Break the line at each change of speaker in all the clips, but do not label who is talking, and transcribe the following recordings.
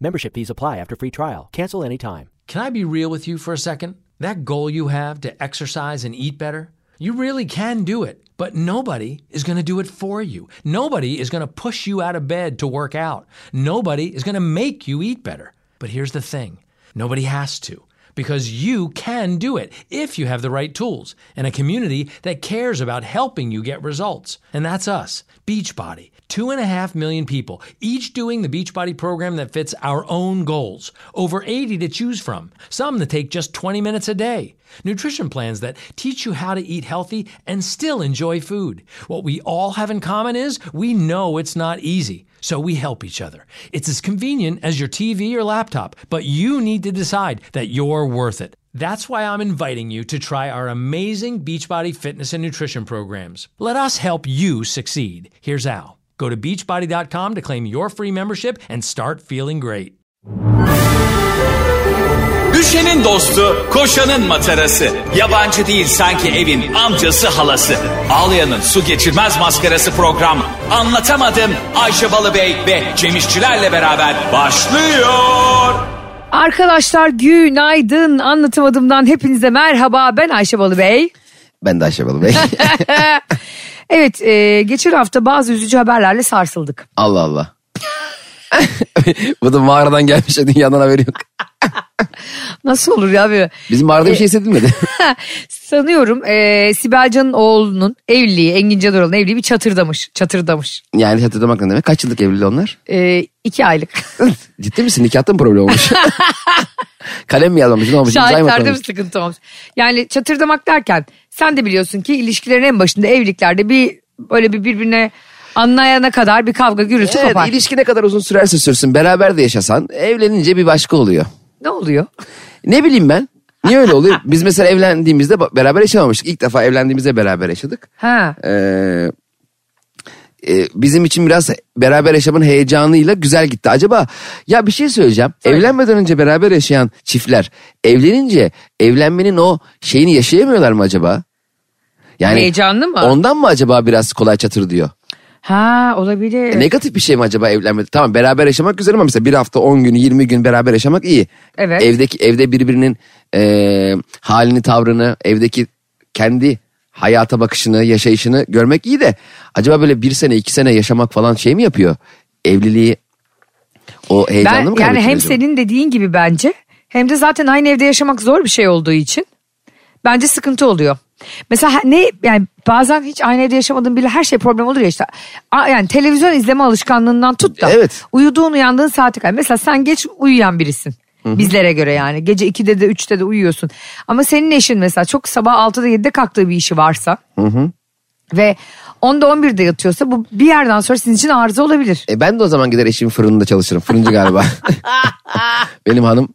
Membership fees apply after free trial. Cancel anytime.
Can I be real with you for a second? That goal you have to exercise and eat better, you really can do it, but nobody is going to do it for you. Nobody is going to push you out of bed to work out. Nobody is going to make you eat better. But here's the thing nobody has to. Because you can do it if you have the right tools and a community that cares about helping you get results. And that's us, Beachbody. Two and a half million people, each doing the Beachbody program that fits our own goals. Over 80 to choose from, some that take just 20 minutes a day. Nutrition plans that teach you how to eat healthy and still enjoy food. What we all have in common is we know it's not easy, so we help each other. It's as convenient as your TV or laptop, but you need to decide that you're worth it. That's why I'm inviting you to try our amazing Beachbody fitness and nutrition programs. Let us help you succeed. Here's how. Go to beachbody.com to claim your free membership and start feeling great.
Düşenin dostu, koşanın matarası. Yabancı değil sanki evin amcası halası. Ağlayanın su geçirmez maskarası program. Anlatamadım Ayşe Balıbey ve Cemişçilerle beraber başlıyor.
Arkadaşlar günaydın. Anlatamadığımdan hepinize merhaba. Ben Ayşe Balıbey.
Ben de Ayşe Balı Bey.
Evet, e, geçen hafta bazı üzücü haberlerle sarsıldık.
Allah Allah. Bu da mağaradan gelmiş ya, dünyadan haberi yok.
Nasıl olur ya böyle?
Bizim mağarada bir şey hissedilmedi.
Sanıyorum e, Sibel Can'ın oğlunun evliliği, Engin Canoğlu'nun evliliği bir çatırdamış. Çatırdamış.
yani hatırlamak ne demek? Kaç yıllık evliliği onlar?
E, iki aylık.
Ciddi misin? Nikahta mı problem olmuş? Kalem mi yazmamış? Ne olmuş? İmzayı mı
Şahitlerde mi
atmamış?
sıkıntı olmuş? Yani çatırdamak derken sen de biliyorsun ki ilişkilerin en başında evliliklerde bir böyle bir birbirine anlayana kadar bir kavga gürültü
Evet,
kopar.
ilişki ne kadar uzun sürerse sürsün beraber de yaşasan evlenince bir başka oluyor.
Ne oluyor?
Ne bileyim ben? Niye öyle oluyor? Biz mesela evlendiğimizde ba- beraber yaşamamıştık. İlk defa evlendiğimizde beraber yaşadık.
Ha.
Ee, e, bizim için biraz beraber yaşamın heyecanıyla güzel gitti. Acaba ya bir şey söyleyeceğim. Evlenmeden önce beraber yaşayan çiftler evlenince evlenmenin o şeyini yaşayamıyorlar mı acaba? Yani
Heyecanlı mı?
Ondan mı acaba biraz kolay çatır diyor?
Ha olabilir.
Negatif bir şey mi acaba evlenmedi? Tamam beraber yaşamak güzel ama mesela bir hafta 10 günü 20 gün beraber yaşamak iyi.
Evet.
Evdeki evde birbirinin e, halini tavrını evdeki kendi hayata bakışını yaşayışını görmek iyi de acaba böyle bir sene iki sene yaşamak falan şey mi yapıyor? Evliliği o heyecanlı mı
ben, yani
kaybediyor
hem
acaba?
senin dediğin gibi bence hem de zaten aynı evde yaşamak zor bir şey olduğu için bence sıkıntı oluyor. Mesela ha- ne yani bazen hiç aynı evde yaşamadığın bile her şey problem olur ya işte. A- Yani televizyon izleme alışkanlığından tut da
Evet.
uyuduğun uyandığın saate kadar. Mesela sen geç uyuyan birisin. Bizlere göre yani gece 2'de de 3'te de uyuyorsun. Ama senin eşin mesela çok sabah 6'da 7'de kalktığı bir işi varsa ve 10'da 11'de yatıyorsa bu bir yerden sonra sizin için arıza olabilir.
E ben de o zaman gider eşimin fırınında çalışırım. Fırıncı galiba. Benim hanım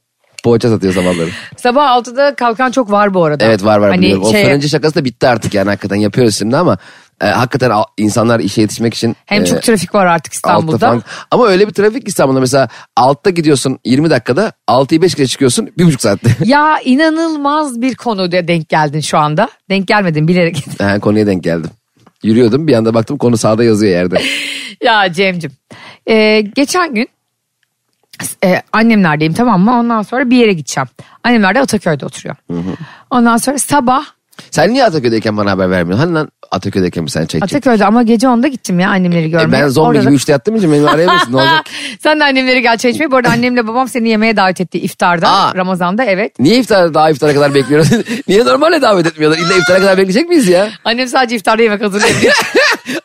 poğaça satıyor sabahları.
Sabah 6'da kalkan çok var bu arada.
Evet var var
Hani
biliyorum.
şey,
O fırıncı şakası da bitti artık yani hakikaten yapıyoruz şimdi ama e, hakikaten al- insanlar işe yetişmek için
Hem
e,
çok trafik var artık
altta
İstanbul'da.
falan- Ama öyle bir trafik ki İstanbul'da mesela altta gidiyorsun 20 dakikada 6'yı 5 kere çıkıyorsun 1,5 saatte.
Ya inanılmaz bir konuya denk geldin şu anda. Denk gelmedin bilerek.
Ha, konuya denk geldim. Yürüyordum bir anda baktım konu sağda yazıyor yerde.
ya Cem'cim. Ee, geçen gün e, annemlerdeyim tamam mı? Ondan sonra bir yere gideceğim. Annemler de Ataköy'de oturuyor. Ondan sonra sabah
Sen niye Ataköy'deyken bana haber vermiyorsun? Hani lan Ataköy'deyken mi sen çay içecektin?
Ataköy'de ama gece 10'da gittim ya annemleri görmeye.
E, ben zombi
Orada da-
gibi 3'te yattığım için beni arayamıyorsun ne olacak?
Sen de annemleri gel çay içmeye. Bu arada annemle babam seni yemeğe davet etti iftarda.
Aa.
Ramazan'da evet.
Niye iftara, daha iftara kadar bekliyoruz? niye normalde davet etmiyorlar? İlla iftara kadar bekleyecek miyiz ya?
Annem sadece iftarda yemek hazırlıyor.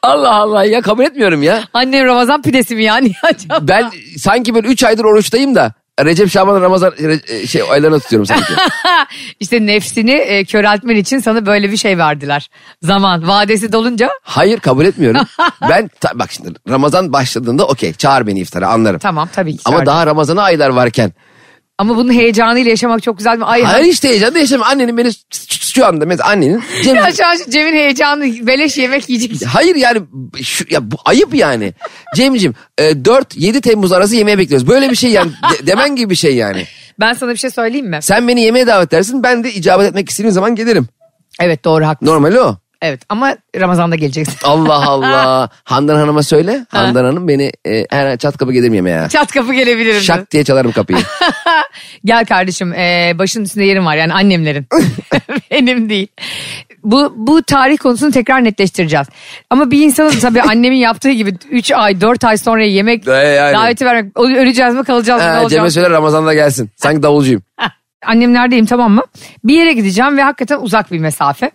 Allah Allah ya kabul etmiyorum ya.
Annem Ramazan pidesi mi yani acaba?
Ben sanki böyle 3 aydır oruçtayım da Recep Şaban Ramazan e, şey aylarına tutuyorum sanki.
işte nefsini e, köreltmen için sana böyle bir şey verdiler. Zaman vadesi dolunca
Hayır kabul etmiyorum. ben ta- bak şimdi Ramazan başladığında okey çağır beni iftara anlarım.
tamam tabii ki.
Ama
çağırdım.
daha Ramazan'a aylar varken.
Ama bunun heyecanıyla yaşamak çok güzel. mi? Ay,
Hayır işte heyecanlı yaşam. Annenin beni s- s- şu anda mesela annenin. Cem-
Ya şu an şu Cem'in heyecanı beleş yemek yiyecek.
Hayır yani şu, ya bu ayıp yani. Cem'ciğim e, 4-7 Temmuz arası yemeğe bekliyoruz. Böyle bir şey yani de- demen gibi bir şey yani.
Ben sana bir şey söyleyeyim mi?
Sen beni yemeğe davet edersin ben de icabet etmek istediğim zaman gelirim.
Evet doğru haklısın.
Normal o.
Evet ama Ramazan'da geleceksin.
Allah Allah. Handan Hanım'a söyle. Handan Hanım beni e, her çat kapı gelirim yemeğe.
Çat kapı gelebilirim. de.
Şak diye çalarım kapıyı.
Gel kardeşim e, başın üstünde yerim var yani annemlerin. Benim değil. Bu, bu tarih konusunu tekrar netleştireceğiz. Ama bir insanın tabii annemin yaptığı gibi 3 ay 4 ay sonra yemek
Ee, yani.
daveti vermek. o- Öleceğiz mi kalacağız mı ne
Ha,
olacak?
Cem'e söyle Ramazan'da gelsin. Sanki davulcuyum.
annemlerdeyim tamam mı? Bir yere gideceğim ve hakikaten uzak bir mesafe.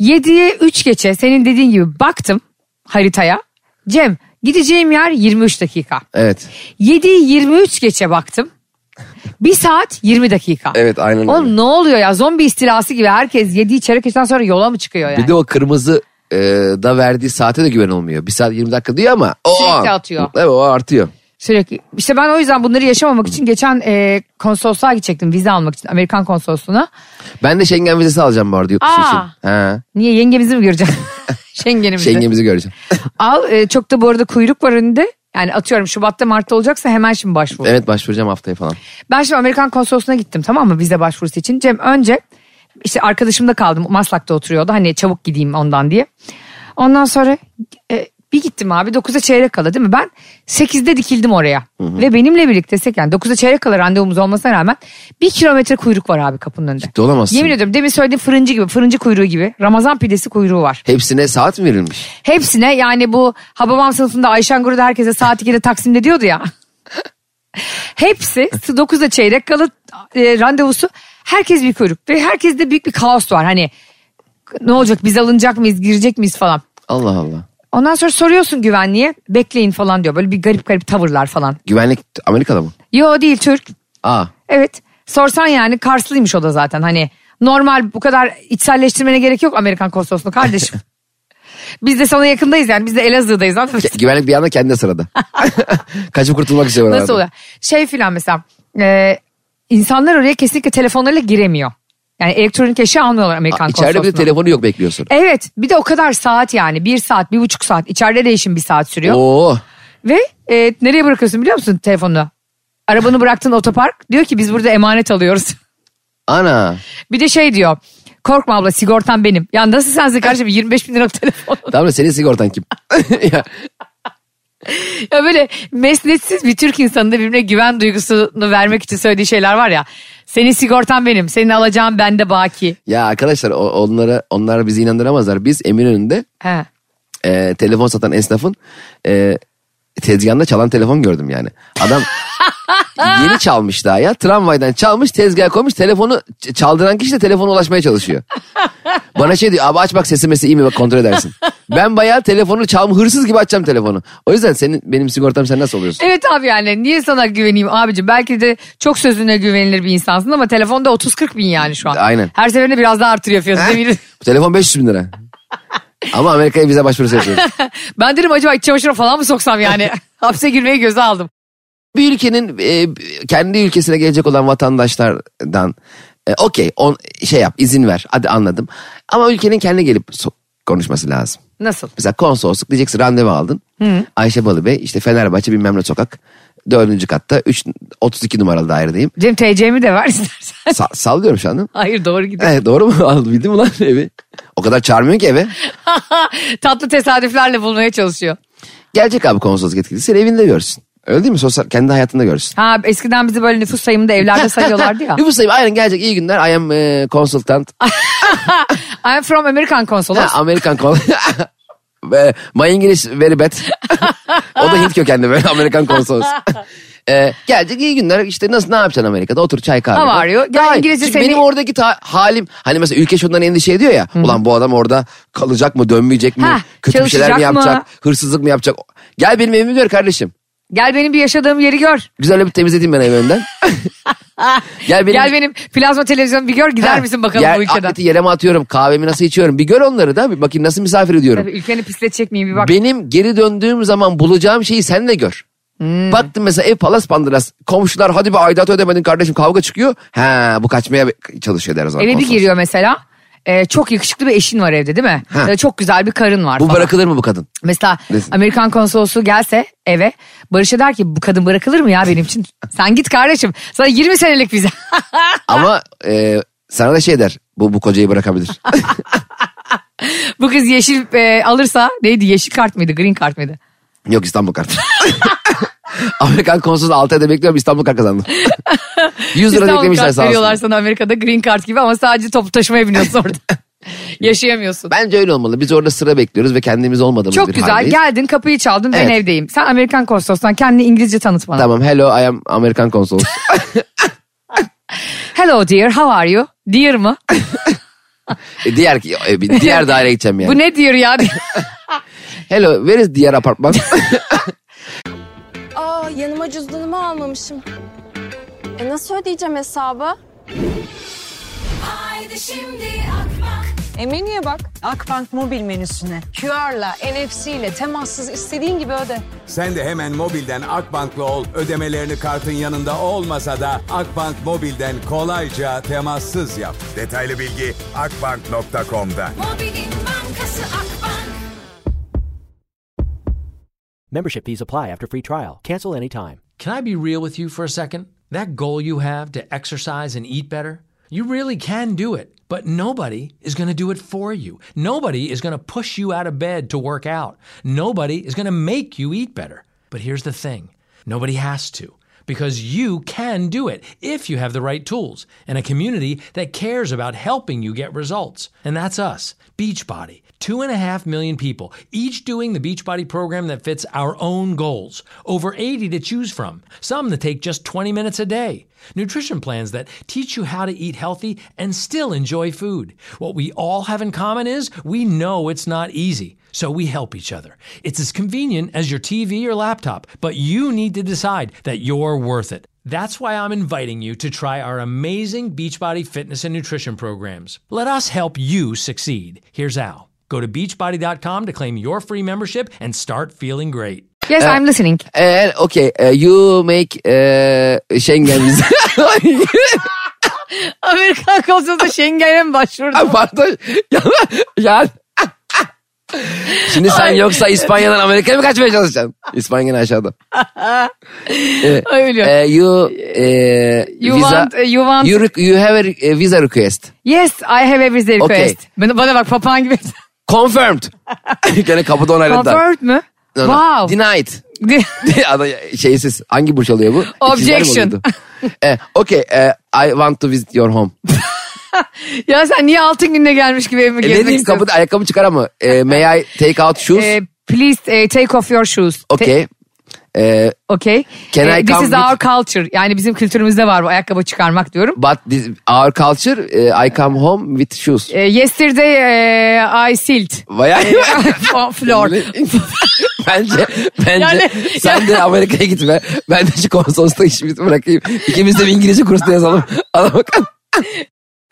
7'ye 3 geçe senin dediğin gibi baktım haritaya. Cem gideceğim yer 23 dakika.
Evet.
7'yi 23 geçe baktım. 1 saat 20 dakika.
Evet, aynen
Oğlum
öyle.
ne oluyor ya zombi istilası gibi herkes 7'yi çeyrek geçten sonra yola mı çıkıyor yani?
Bir de o kırmızı e, da verdiği saate de güven olmuyor. Bir saat 20 dakika diyor ama o
Sürekli
an-
atıyor.
Evet o artıyor.
Sürekli. İşte ben o yüzden bunları yaşamamak için geçen e, konsolosluğa gidecektim vize almak için Amerikan konsolosluğuna.
Ben de Schengen vizesi alacağım bu arada yurt dışı için.
Aa.
Ha.
Niye yengemizi mi göreceğim? Şengenimizi.
Schengen'imizi göreceğim.
Al e, çok da bu arada kuyruk var önünde. Yani atıyorum Şubat'ta Mart'ta olacaksa hemen şimdi başvur.
evet başvuracağım haftaya falan.
Ben şimdi Amerikan konsolosluğuna gittim tamam mı vize başvurusu için. Cem önce işte arkadaşımda kaldım Maslak'ta oturuyordu hani çabuk gideyim ondan diye. Ondan sonra e, bir gittim abi 9'a çeyrek kala değil mi? Ben 8'de dikildim oraya. Ve benimle birlikte sek- yani 9'a çeyrek kala randevumuz olmasına rağmen bir kilometre kuyruk var abi kapının önünde.
Ciddi olamazsın.
Yemin ediyorum demin söylediğim fırıncı gibi fırıncı kuyruğu gibi Ramazan pidesi kuyruğu var.
Hepsine saat mi verilmiş?
Hepsine yani bu Hababam sınıfında Ayşen Guru'da herkese saat 2'de Taksim'de diyordu ya. Hepsi 9'da çeyrek kalı e, randevusu. Herkes bir kuyruk ve herkeste büyük bir kaos var. Hani ne olacak biz alınacak mıyız girecek miyiz falan.
Allah Allah.
Ondan sonra soruyorsun güvenliğe bekleyin falan diyor. Böyle bir garip garip tavırlar falan.
Güvenlik Amerika'da mı?
Yo değil Türk.
Aa.
Evet sorsan yani Karslıymış o da zaten hani normal bu kadar içselleştirmene gerek yok Amerikan konsolosluğu kardeşim. biz de sana yakındayız yani biz de Elazığ'dayız. anladın mı?
Güvenlik bir anda kendi sırada. Kaçıp kurtulmak istiyor.
Nasıl oluyor? Şey filan mesela e, insanlar oraya kesinlikle telefonlarıyla giremiyor. Yani elektronik eşya almıyorlar Amerikan
İçeride bir de
konsolosluğuna.
telefonu yok bekliyorsun.
Evet bir de o kadar saat yani bir saat bir buçuk saat içeride değişim bir saat sürüyor.
Oo.
Ve e, nereye bırakıyorsun biliyor musun telefonunu? Arabanı bıraktığın otopark diyor ki biz burada emanet alıyoruz.
Ana.
Bir de şey diyor korkma abla sigortan benim. Ya nasıl sensin kardeşim 25 bin lira telefon.
Tamam da senin sigortan kim? ya,
Ya böyle mesnetsiz bir Türk insanında birbirine güven duygusunu vermek için söylediği şeyler var ya. Senin sigortan benim, senin alacağın bende baki.
ya arkadaşlar o- onlara onlar bizi inandıramazlar. Biz Eminönü'nde
He.
e, telefon satan esnafın e, tezgahında çalan telefon gördüm yani. Adam yeni çalmış daha ya. Tramvaydan çalmış tezgaha koymuş telefonu ç- çaldıran kişi de telefona ulaşmaya çalışıyor. Bana şey diyor abi aç bak sesi mesi iyi mi bak kontrol edersin. Ben bayağı telefonu çalma hırsız gibi açacağım telefonu. O yüzden senin benim sigortam sen nasıl oluyorsun?
Evet abi yani niye sana güveneyim abicim? Belki de çok sözüne güvenilir bir insansın ama telefonda 30-40 bin yani şu an.
Aynen.
Her seferinde biraz daha artırıyor fiyatı. değil mi?
Bu telefon 500 bin lira. Ama Amerika'ya vize başvurusu yapıyoruz.
ben dedim acaba iç çamaşıra falan mı soksam yani? Hapse girmeyi göze aldım.
bir ülkenin e, kendi ülkesine gelecek olan vatandaşlardan e, okey on şey yap izin ver hadi anladım. Ama ülkenin kendi gelip so- konuşması lazım.
Nasıl?
Mesela konsolosluk diyeceksin randevu aldın. Ayşe Balıbey işte Fenerbahçe bilmem ne sokak. Dördüncü katta 3, 32 numaralı dairedeyim.
Cem TC'mi de ver istersen.
Sa- sallıyorum şu anda.
Hayır doğru gidiyor.
Evet, doğru mu? Aldım bildim ulan evi. O kadar çağırmıyor ki eve.
Tatlı tesadüflerle bulmaya çalışıyor.
Gelecek abi konsolosluk yetkilisi seni evinde görsün. Öyle değil mi? Sosyal, kendi hayatında görsün.
Ha eskiden bizi böyle nüfus sayımında evlerde sayıyorlardı ya.
Nüfus sayımı aynen gelecek iyi günler. I am e, consultant.
I'm from American konsolos.
Ha, Amerikan kol. Ve My English very bad. o da Hint kökenli böyle Amerikan konsolos. Ee, gelecek iyi günler işte nasıl ne yapacaksın Amerika'da otur çay kahve.
How are you? Gel
Daha iyi.
İngilizce
Çünkü
seni-
Benim oradaki ta- halim hani mesela ülke şundan endişe ediyor ya. Ulan bu adam orada kalacak mı dönmeyecek mi?
Hah,
kötü bir şeyler mi
çalışacak mı?
yapacak? Hırsızlık mı yapacak? Gel benim evimi gör kardeşim.
Gel benim bir yaşadığım yeri gör.
Güzel bir temizledim ben evi önden. Gel benim,
Gel benim plazma televizyonu bir gör gider
Hah,
misin bakalım
yer-
bu ülkeden.
Atleti yere mi atıyorum kahvemi nasıl içiyorum bir gör onları da bir bakayım nasıl misafir ediyorum.
Tabii ülkeni pisletecek miyim bir bak.
Benim geri döndüğüm zaman bulacağım şeyi sen de gör.
Hmm.
Baktım mesela ev palas pandıras. Komşular hadi be aidat ödemedin kardeşim kavga çıkıyor. Ha bu kaçmaya çalışıyor der o zaman.
Eve bir
konsolos.
giriyor mesela. Ee, çok yakışıklı bir eşin var evde değil mi?
Ha.
Ya da çok güzel bir karın var
Bu
falan.
bırakılır mı bu kadın?
Mesela
Desin.
Amerikan konsolosu gelse eve Barış'a der ki bu kadın bırakılır mı ya benim için? Sen git kardeşim sana 20 senelik vize.
Ama e, sana da şey der. Bu, bu kocayı bırakabilir.
Bu kız yeşil e, alırsa neydi yeşil kart mıydı green kart mıydı?
Yok İstanbul kartı. Amerikan konsolosluğu 6 ayda bekliyorum İstanbul kart kazandım. 100 lira
İstanbul
beklemişler
kart
sağ
veriyorlar
olsun.
sana Amerika'da green kart gibi ama sadece toplu taşımaya biniyorsun orada. Yaşayamıyorsun.
Bence öyle olmalı. Biz orada sıra bekliyoruz ve kendimiz olmadığımız
Çok
bir
güzel
haldeyiz.
geldin kapıyı çaldın ben
Evet.
evdeyim. Sen Amerikan konsolosluğundan kendini İngilizce tanıt bana.
Tamam hello I am Amerikan konsolos.
Hello dear how are you? Dear mı?
E, diğer e, bir diğer daireye gideceğim yani.
Bu ne diyor ya?
Hello where is diğer apartman?
Aa yanıma cüzdanımı almamışım. E nasıl ödeyeceğim hesabı?
Menüye bak. Akbank mobil menüsüne. QR'la, NFC ile temassız istediğin gibi öde.
Sen de hemen mobilden Akbank'la ol. Ödemelerini kartın yanında olmasa da Akbank mobilden kolayca temassız yap. Detaylı bilgi akbank.com'da.
Membership fees apply after free trial. Cancel anytime.
Can I be real with you for a second? That goal you have to exercise and eat better, you really can do it, but nobody is going to do it for you. Nobody is going to push you out of bed to work out. Nobody is going to make you eat better. But here's the thing nobody has to. Because you can do it if you have the right tools and a community that cares about helping you get results. And that's us, Beachbody. Two and a half million people, each doing the Beachbody program that fits our own goals. Over 80 to choose from, some that take just 20 minutes a day. Nutrition plans that teach you how to eat healthy and still enjoy food. What we all have in common is we know it's not easy. So we help each other. It's as convenient as your TV or laptop, but you need to decide that you're worth it. That's why I'm inviting you to try our amazing Beachbody fitness and nutrition programs. Let us help you succeed. Here's how. Go to beachbody.com to claim your free membership and start feeling great.
yes I'm listening.
Eee okay e, you make e, Schengen visa.
Amerikan konsolosluğu Schengen'e mi başvurdu?
Pardon. Ya- ya. Şimdi sen yoksa İspanya'dan Amerika'ya mı kaçmaya çalışacaksın? İspanya'nın aşağıda.
Ay, biliyorum.
E, you e,
You
visa,
want- you want-
you, re- you have a re- e, visa request.
Yes I have every request.
Okay.
Bana, bana bak papağan gibi.
Confirmed. Gene kapıda onayladılar.
Comfort mü?
No, no.
Wow.
Denied. Adam şeysiz. Hangi burç oluyor bu?
Objection.
İkizler mi oluyordu? e, okay. e, I want to visit your home.
ya sen niye altın gününe gelmiş gibi evime
E, ne
gezmek
diyeyim
istiyorsun?
kapıda ayakkabı çıkar ama. E, may I take out shoes?
Eh, please eh, take off your shoes. Te-
okay. E,
Okay.
Can
Eh,
I
this
come
is
with-
our culture. Yani bizim kültürümüzde var bu ayakkabı çıkarmak diyorum.
but this, our culture, e, I come home with shoes.
Eh, yesterday eh, I silt.
Bayağı
floor.
bence bence
Yani-
sen de Amerika'ya gitme. Ben de şu konsolosluğa işimi bırakayım. İkimiz de bir İngilizce kursuna yazalım. Adam bakalım.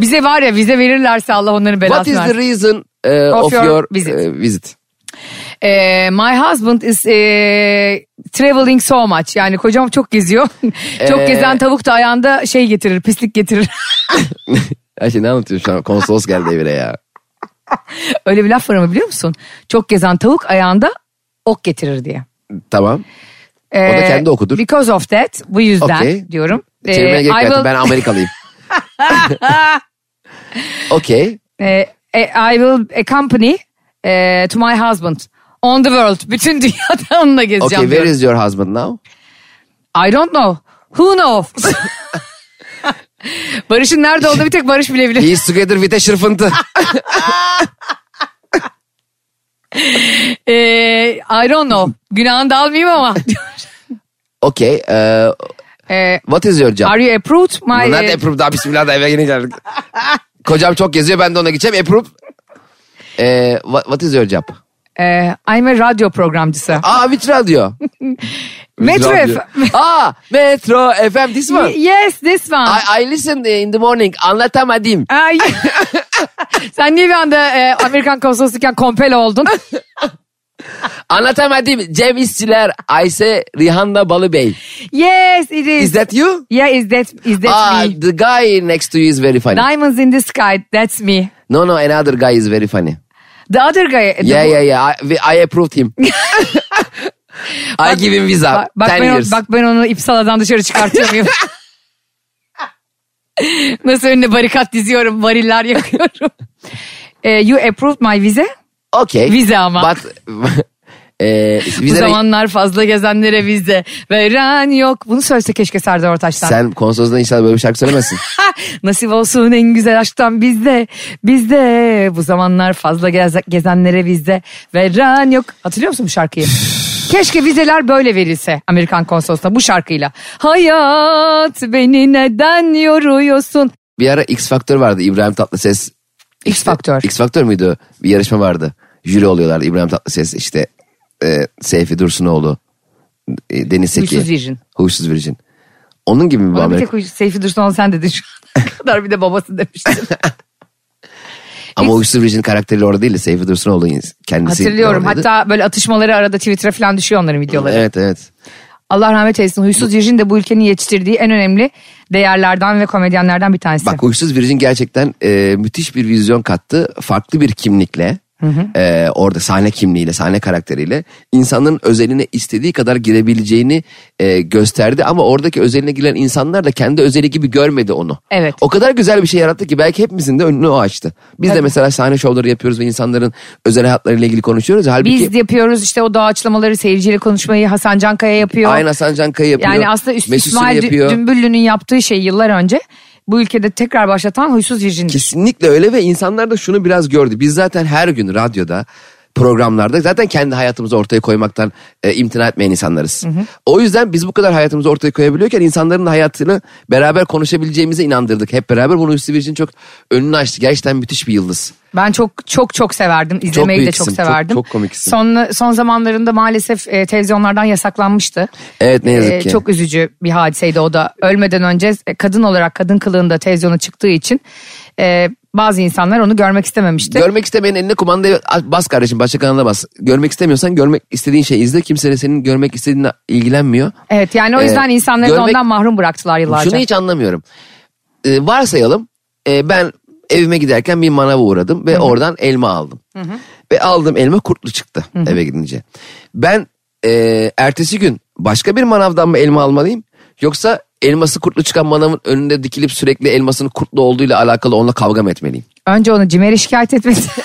Bize var ya vize verirlerse Allah onların
What
belasını
is the
versin.
reason e,
Of
of,
your
your,
visit.
e, visit?
Eh, my husband is eh, traveling so much. Yani kocam çok geziyor. çok
Eh.
gezen tavuk da ayağında şey getirir, pislik getirir.
Her şey ne anlatıyorum şu an? Konsolos geldi evine ya.
Öyle bir laf var ama biliyor musun? Çok gezen tavuk ayağında ok getirir diye.
Tamam. O da
Eh,
kendi okudur.
Because of that, bu yüzden
Okey.
diyorum. Eh,
Çevirmeye gerek
I
yok.
will-
Ben Amerikalıyım. Okey.
Eh, eh, I will accompany eh, to my husband on the world. Bütün dünyada onunla gezeceğim.
Okey. Where
diyorum.
is your husband now?
I don't know. Who knows? Barış'ın nerede olduğunu bir tek Barış bilebilir.
He is together with a şırfıntı.
Eh, I don't know. Günahını da almayayım ama.
Okey. e,
Eh,
what is your job?
are you approved? My, e,
Bunlar da approved daha bismillah da eve yeni geldik. Kocam çok geziyor ben de ona gideceğim approved. Ee, what, what is your job?
eh, I'm a radyo programcısı.
Aa which radio?
Metro
Ah, Radyo.
FM.
Aa Metro FM this one.
Yes, this one.
I, I listen in the morning anlatamadım.
Ay. Sen niye bir anda eh, Amerikan konsolosluyken kompel oldun?
Anlatamadım Cem İşçiler Ayse Rihanna Balıbey.
yes, it is.
Is that Ah, you?
Yeah, is that, is that
Aa,
me?
the guy next to you is very funny.
Diamonds in the sky, that's me.
No no another guy is very funny.
The other guy. the-
Yeah yeah yeah I, we- I approved him. I give him visa.
Bak, bak
10
ben,
years.
onu, bak ben onu İpsala'dan dışarı çıkartıyor muyum? Nasıl önüne barikat diziyorum, variller yakıyorum. e, you approved my vize.
Okey.
Vize ama.
Bak e,
Bu
vize
zamanlar fazla gezenlere vize veren yok. Bunu söylese keşke Serdar Ortaç'tan.
sen konsolosluğunda inşallah böyle bir şarkı söylemezsin.
Ha, Nasip olsun en güzel aşktan bizde. Bizde bu zamanlar fazla geze- gezenlere vize veren yok. Hatırlıyor musun bu şarkıyı? Keşke vizeler böyle verilse Amerikan konsolosluğuna bu şarkıyla. Hayat beni neden yoruyorsun?
bir ara X Factor vardı İbrahim Tatlıses.
X Factor.
X Factor muydu? Bir yarışma vardı. Jüri oluyorlardı İbrahim Tatlıses işte e, Seyfi Dursunoğlu, e, Deniz Seki.
Huysuz Virgin.
Huysuz Virgin. Onun gibi mi bu
Ona bir
Amerika?
tek o Seyfi Dursunoğlu sen dedin şu ana kadar bir de babası demiştin.
Ama Huysuz Virgin karakteri orada değil de Seyfi Dursunoğlu ins- kendisi. de
Hatırlıyorum
oradaydı.
hatta böyle atışmaları arada Twitter'a falan düşüyor onların videoları.
Evet evet.
Allah rahmet eylesin Huysuz Virgin de bu ülkenin yetiştirdiği en önemli değerlerden ve komedyenlerden bir tanesi.
Bak Huysuz Virgin gerçekten e, müthiş bir vizyon kattı. Farklı bir kimlikle e, orada sahne kimliğiyle sahne karakteriyle insanların özeline istediği kadar girebileceğini e, gösterdi. Ama oradaki özeline giren insanlar da kendi özeli gibi görmedi onu.
Evet.
O kadar güzel bir şey yarattı ki belki hepimizin de önünü o açtı. Biz de mesela sahne şovları yapıyoruz ve insanların özel hayatlarıyla ilgili konuşuyoruz. Halbuki
Biz de yapıyoruz işte o doğaçlamaları seyirciyle konuşmayı Hasan Cankaya yapıyor.
aynı Hasan Cankaya yapıyor.
Yani aslında Üst
Mesut Süre
İsmail Dü-
yapıyor.
Dümbüllü'nün yaptığı şeyi yıllar önce bu ülkede tekrar başlatan Huysuz Virgin'dir.
Kesinlikle öyle ve insanlar da şunu biraz gördü. Biz zaten her gün radyoda programlarda zaten kendi hayatımızı ortaya koymaktan e, imtina etmeyen insanlarız. O yüzden biz bu kadar hayatımızı ortaya koyabiliyorken insanların da hayatını beraber konuşabileceğimize inandırdık. Hep beraber bunu Hüsnü Birçin çok önünü açtı. Gerçekten müthiş bir yıldız.
Ben çok çok çok severdim. İzlemeyi de
büyük
çok
isim, çok-
severdim.
çok komik isim.
Son, son zamanlarında maalesef e, televizyonlardan yasaklanmıştı. E,
Evet, ne yazık ki.
Çok üzücü bir hadiseydi o da. Ölmeden önce e, kadın olarak kadın kılığında televizyona çıktığı için e, bazı insanlar onu görmek istememişti.
Görmek istemeyen eline kumandayı at- bas kardeşim başka kanala bas. Görmek istemiyorsan görmek istediğin şeyi izle. Kimse de senin görmek istediğine ilgilenmiyor.
evet yani o yüzden
Ee,
insanları da
görmek-
ondan mahrum bıraktılar yıllarca.
Şunu hiç anlamıyorum. Ee, varsayalım e, ben evime giderken bir manava uğradım ve oradan elma aldım. Ve aldığım elma kurtlu çıktı eve gidince. Ben e, ertesi gün başka bir manavdan mı elma almalıyım? Yoksa elması kurtlu çıkan manavın önünde dikilip sürekli elmasının kurtlu olduğuyla alakalı onunla kavga mı etmeliyim?
Önce onu Cimer'e şikayet etmesi.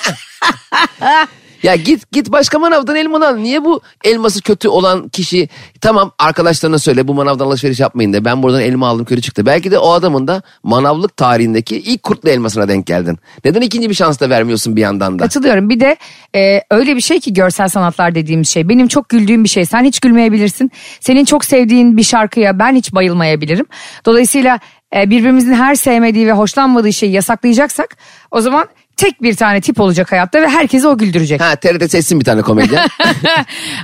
Ya git git başka manavdan elma al. Niye bu elması kötü olan kişi tamam arkadaşlarına söyle bu manavdan alışveriş yapmayın de ben buradan elma aldım kötü çıktı. Belki de o adamın da manavlık tarihindeki ilk kurtlu elmasına denk geldin. Neden ikinci bir şans da vermiyorsun bir yandan da?
Katılıyorum. Bir de e, öyle bir şey ki görsel sanatlar dediğimiz şey. Benim çok güldüğüm bir şey. Sen hiç gülmeyebilirsin. Senin çok sevdiğin bir şarkıya ben hiç bayılmayabilirim. Dolayısıyla e, birbirimizin her sevmediği ve hoşlanmadığı şeyi yasaklayacaksak o zaman tek bir tane tip olacak hayatta ve herkesi o güldürecek.
Ha TRT seçsin bir tane komedyen.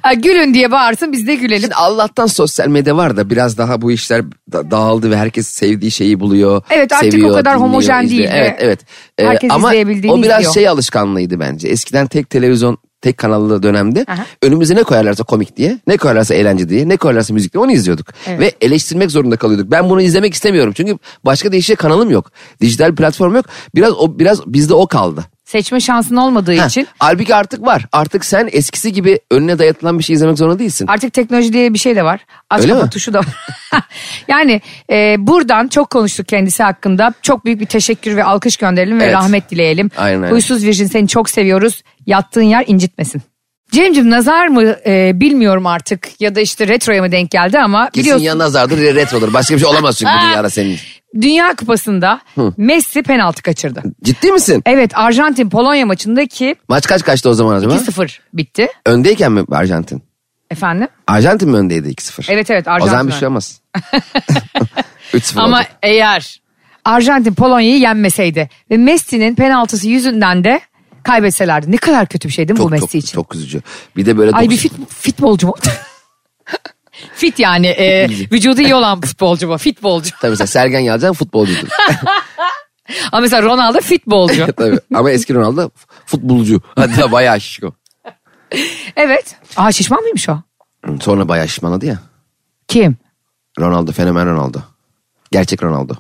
Ha, Gülün diye bağırsın biz de gülelim.
Şimdi Allah'tan sosyal medya var da biraz daha bu işler da- dağıldı ve herkes sevdiği şeyi buluyor.
Evet, artık o
seviyor,
kadar
dinliyor,
homojen
izliyor.
değil ve
Evet evet. Ee,
herkes
ama
izleyebildiğini
o biraz
izliyor.
şey alışkanlığıydı bence. Eskiden tek televizyon tek kanallı dönemde
Aha.
önümüze ne koyarlarsa komik diye, ne koyarlarsa eğlence diye, ne koyarlarsa müzik diye onu izliyorduk.
Evet.
Ve eleştirmek zorunda kalıyorduk. Ben bunu izlemek istemiyorum çünkü başka değişik kanalım yok. Dijital platform yok. Biraz o biraz bizde o kaldı.
Seçme şansın olmadığı
Heh.
için
Halbuki artık var. Artık sen eskisi gibi önüne dayatılan bir şey izlemek zorunda değilsin.
Artık teknoloji diye bir şey de var. Aç
Öyle
kapat
mi?
tuşu da var. yani e, buradan çok konuştuk kendisi hakkında. Çok büyük bir teşekkür ve alkış gönderelim ve
Evet.
rahmet dileyelim.
Aynen öyle.
Huysuz Virjin seni çok seviyoruz. Yattığın yer incitmesin. Cem'cim nazar mı e, bilmiyorum artık ya da işte retroya mı denk geldi ama
Kesin
biliyorsun
ya nazardır ya retrodur. Başka bir şey olamaz çünkü bu dünyada senin.
Dünya Kupası'nda Messi penaltı kaçırdı.
Ciddi misin?
Evet Arjantin Polonya maçındaki
Maç kaç kaçtı o zaman acaba?
2-0 bitti.
Öndeyken mi Arjantin?
Efendim?
Arjantin mi öndeydi 2-0?
Evet, evet,
O zaman
Arjantin
bir şey
ön-
olmaz. 3-0
Ama
oldu.
eğer Arjantin Polonya'yı yenmeseydi ve Messi'nin penaltısı yüzünden de kaybetselerdi. Ne kadar kötü bir şey değil mi bu
çok,
Messi
çok,
için?
çok üzücü. Bir şey. de böyle
Ay bir
dokuz-
fit, futbolcu mu? fit yani e, vücudu iyi olan futbolcu mu? Futbolcu.
Tabii mesela Sergen Yalçın futbolcuydu.
Ama mesela Ronaldo futbolcu.
Tabii. Ama eski Ronaldo futbolcu. Hatta bayağı şişko.
evet. Aa şişman mıymış o?
Sonra bayağı şişmanladı ya.
Kim?
Ronaldo fenomen Ronaldo. Gerçek Ronaldo.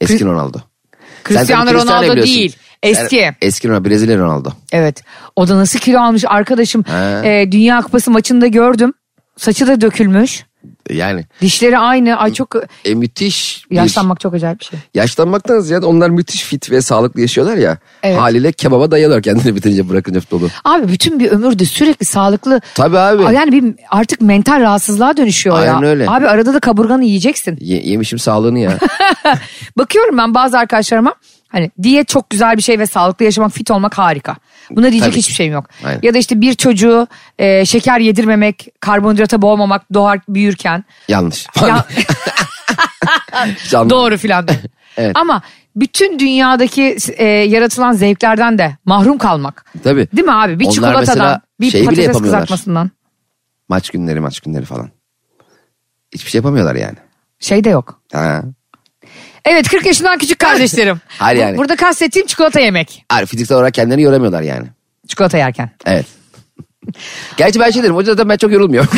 Eski Ronaldo. Sen tabii
Cristiano
Cristiano'yu
Ronaldo
biliyorsun.
değil.
Sen-
Eski.
eski Ronaldo. Brezilya Ronaldo.
Evet. O da nasıl kilo almış arkadaşım.
He.
E, Dünya Kupası maçında gördüm. Saçı da dökülmüş.
Yani
Dişleri aynı. Ay çok
e, müthiş bir-
yaşlanmak çok acayip bir şey.
Yaşlanmaktan ziyade onlar müthiş fit ve sağlıklı yaşıyorlar ya.
Evet.
Haliyle kebaba dayanıyor kendini bitirince bırakınca futbolu.
Abi bütün bir ömürde sürekli sağlıklı.
Tabii abi.
Yani bir artık mental rahatsızlığa dönüşüyor ya.
Aynen öyle.
Abi arada da kaburganı yiyeceksin.
Ye- yemişim sağlığını ya.
Bakıyorum ben bazı arkadaşlarıma hani diyet çok güzel bir şey ve sağlıklı yaşamak fit olmak harika. Buna diyecek
Tabii ki.
hiçbir şeyim yok.
Aynen.
Ya da işte bir çocuğu e, şeker yedirmemek, karbonhidrata boğmamak doğar büyürken.
Yanlış.
Ya-
Canlı.
Doğru filan.
Evet.
Ama bütün dünyadaki e, yaratılan zevklerden de mahrum kalmak.
Tabii.
Değil mi abi? Bir
Onlar mesela
çikolatadan, bir
şey bile
patates
yapamıyorlar.
kızartmasından.
Maç günleri maç günleri falan. Hiçbir şey yapamıyorlar yani.
Şey de yok.
Ha.
Evet 40 yaşından küçük kardeşlerim.
Hayır
Bu-
yani.
Burada kastettiğim çikolata yemek.
Hayır, fiziksel olarak kendilerini yoramıyorlar yani.
Çikolata yerken.
Evet. Gerçi ben şey derim. Hoca zaten ben çok yorulmuyorum.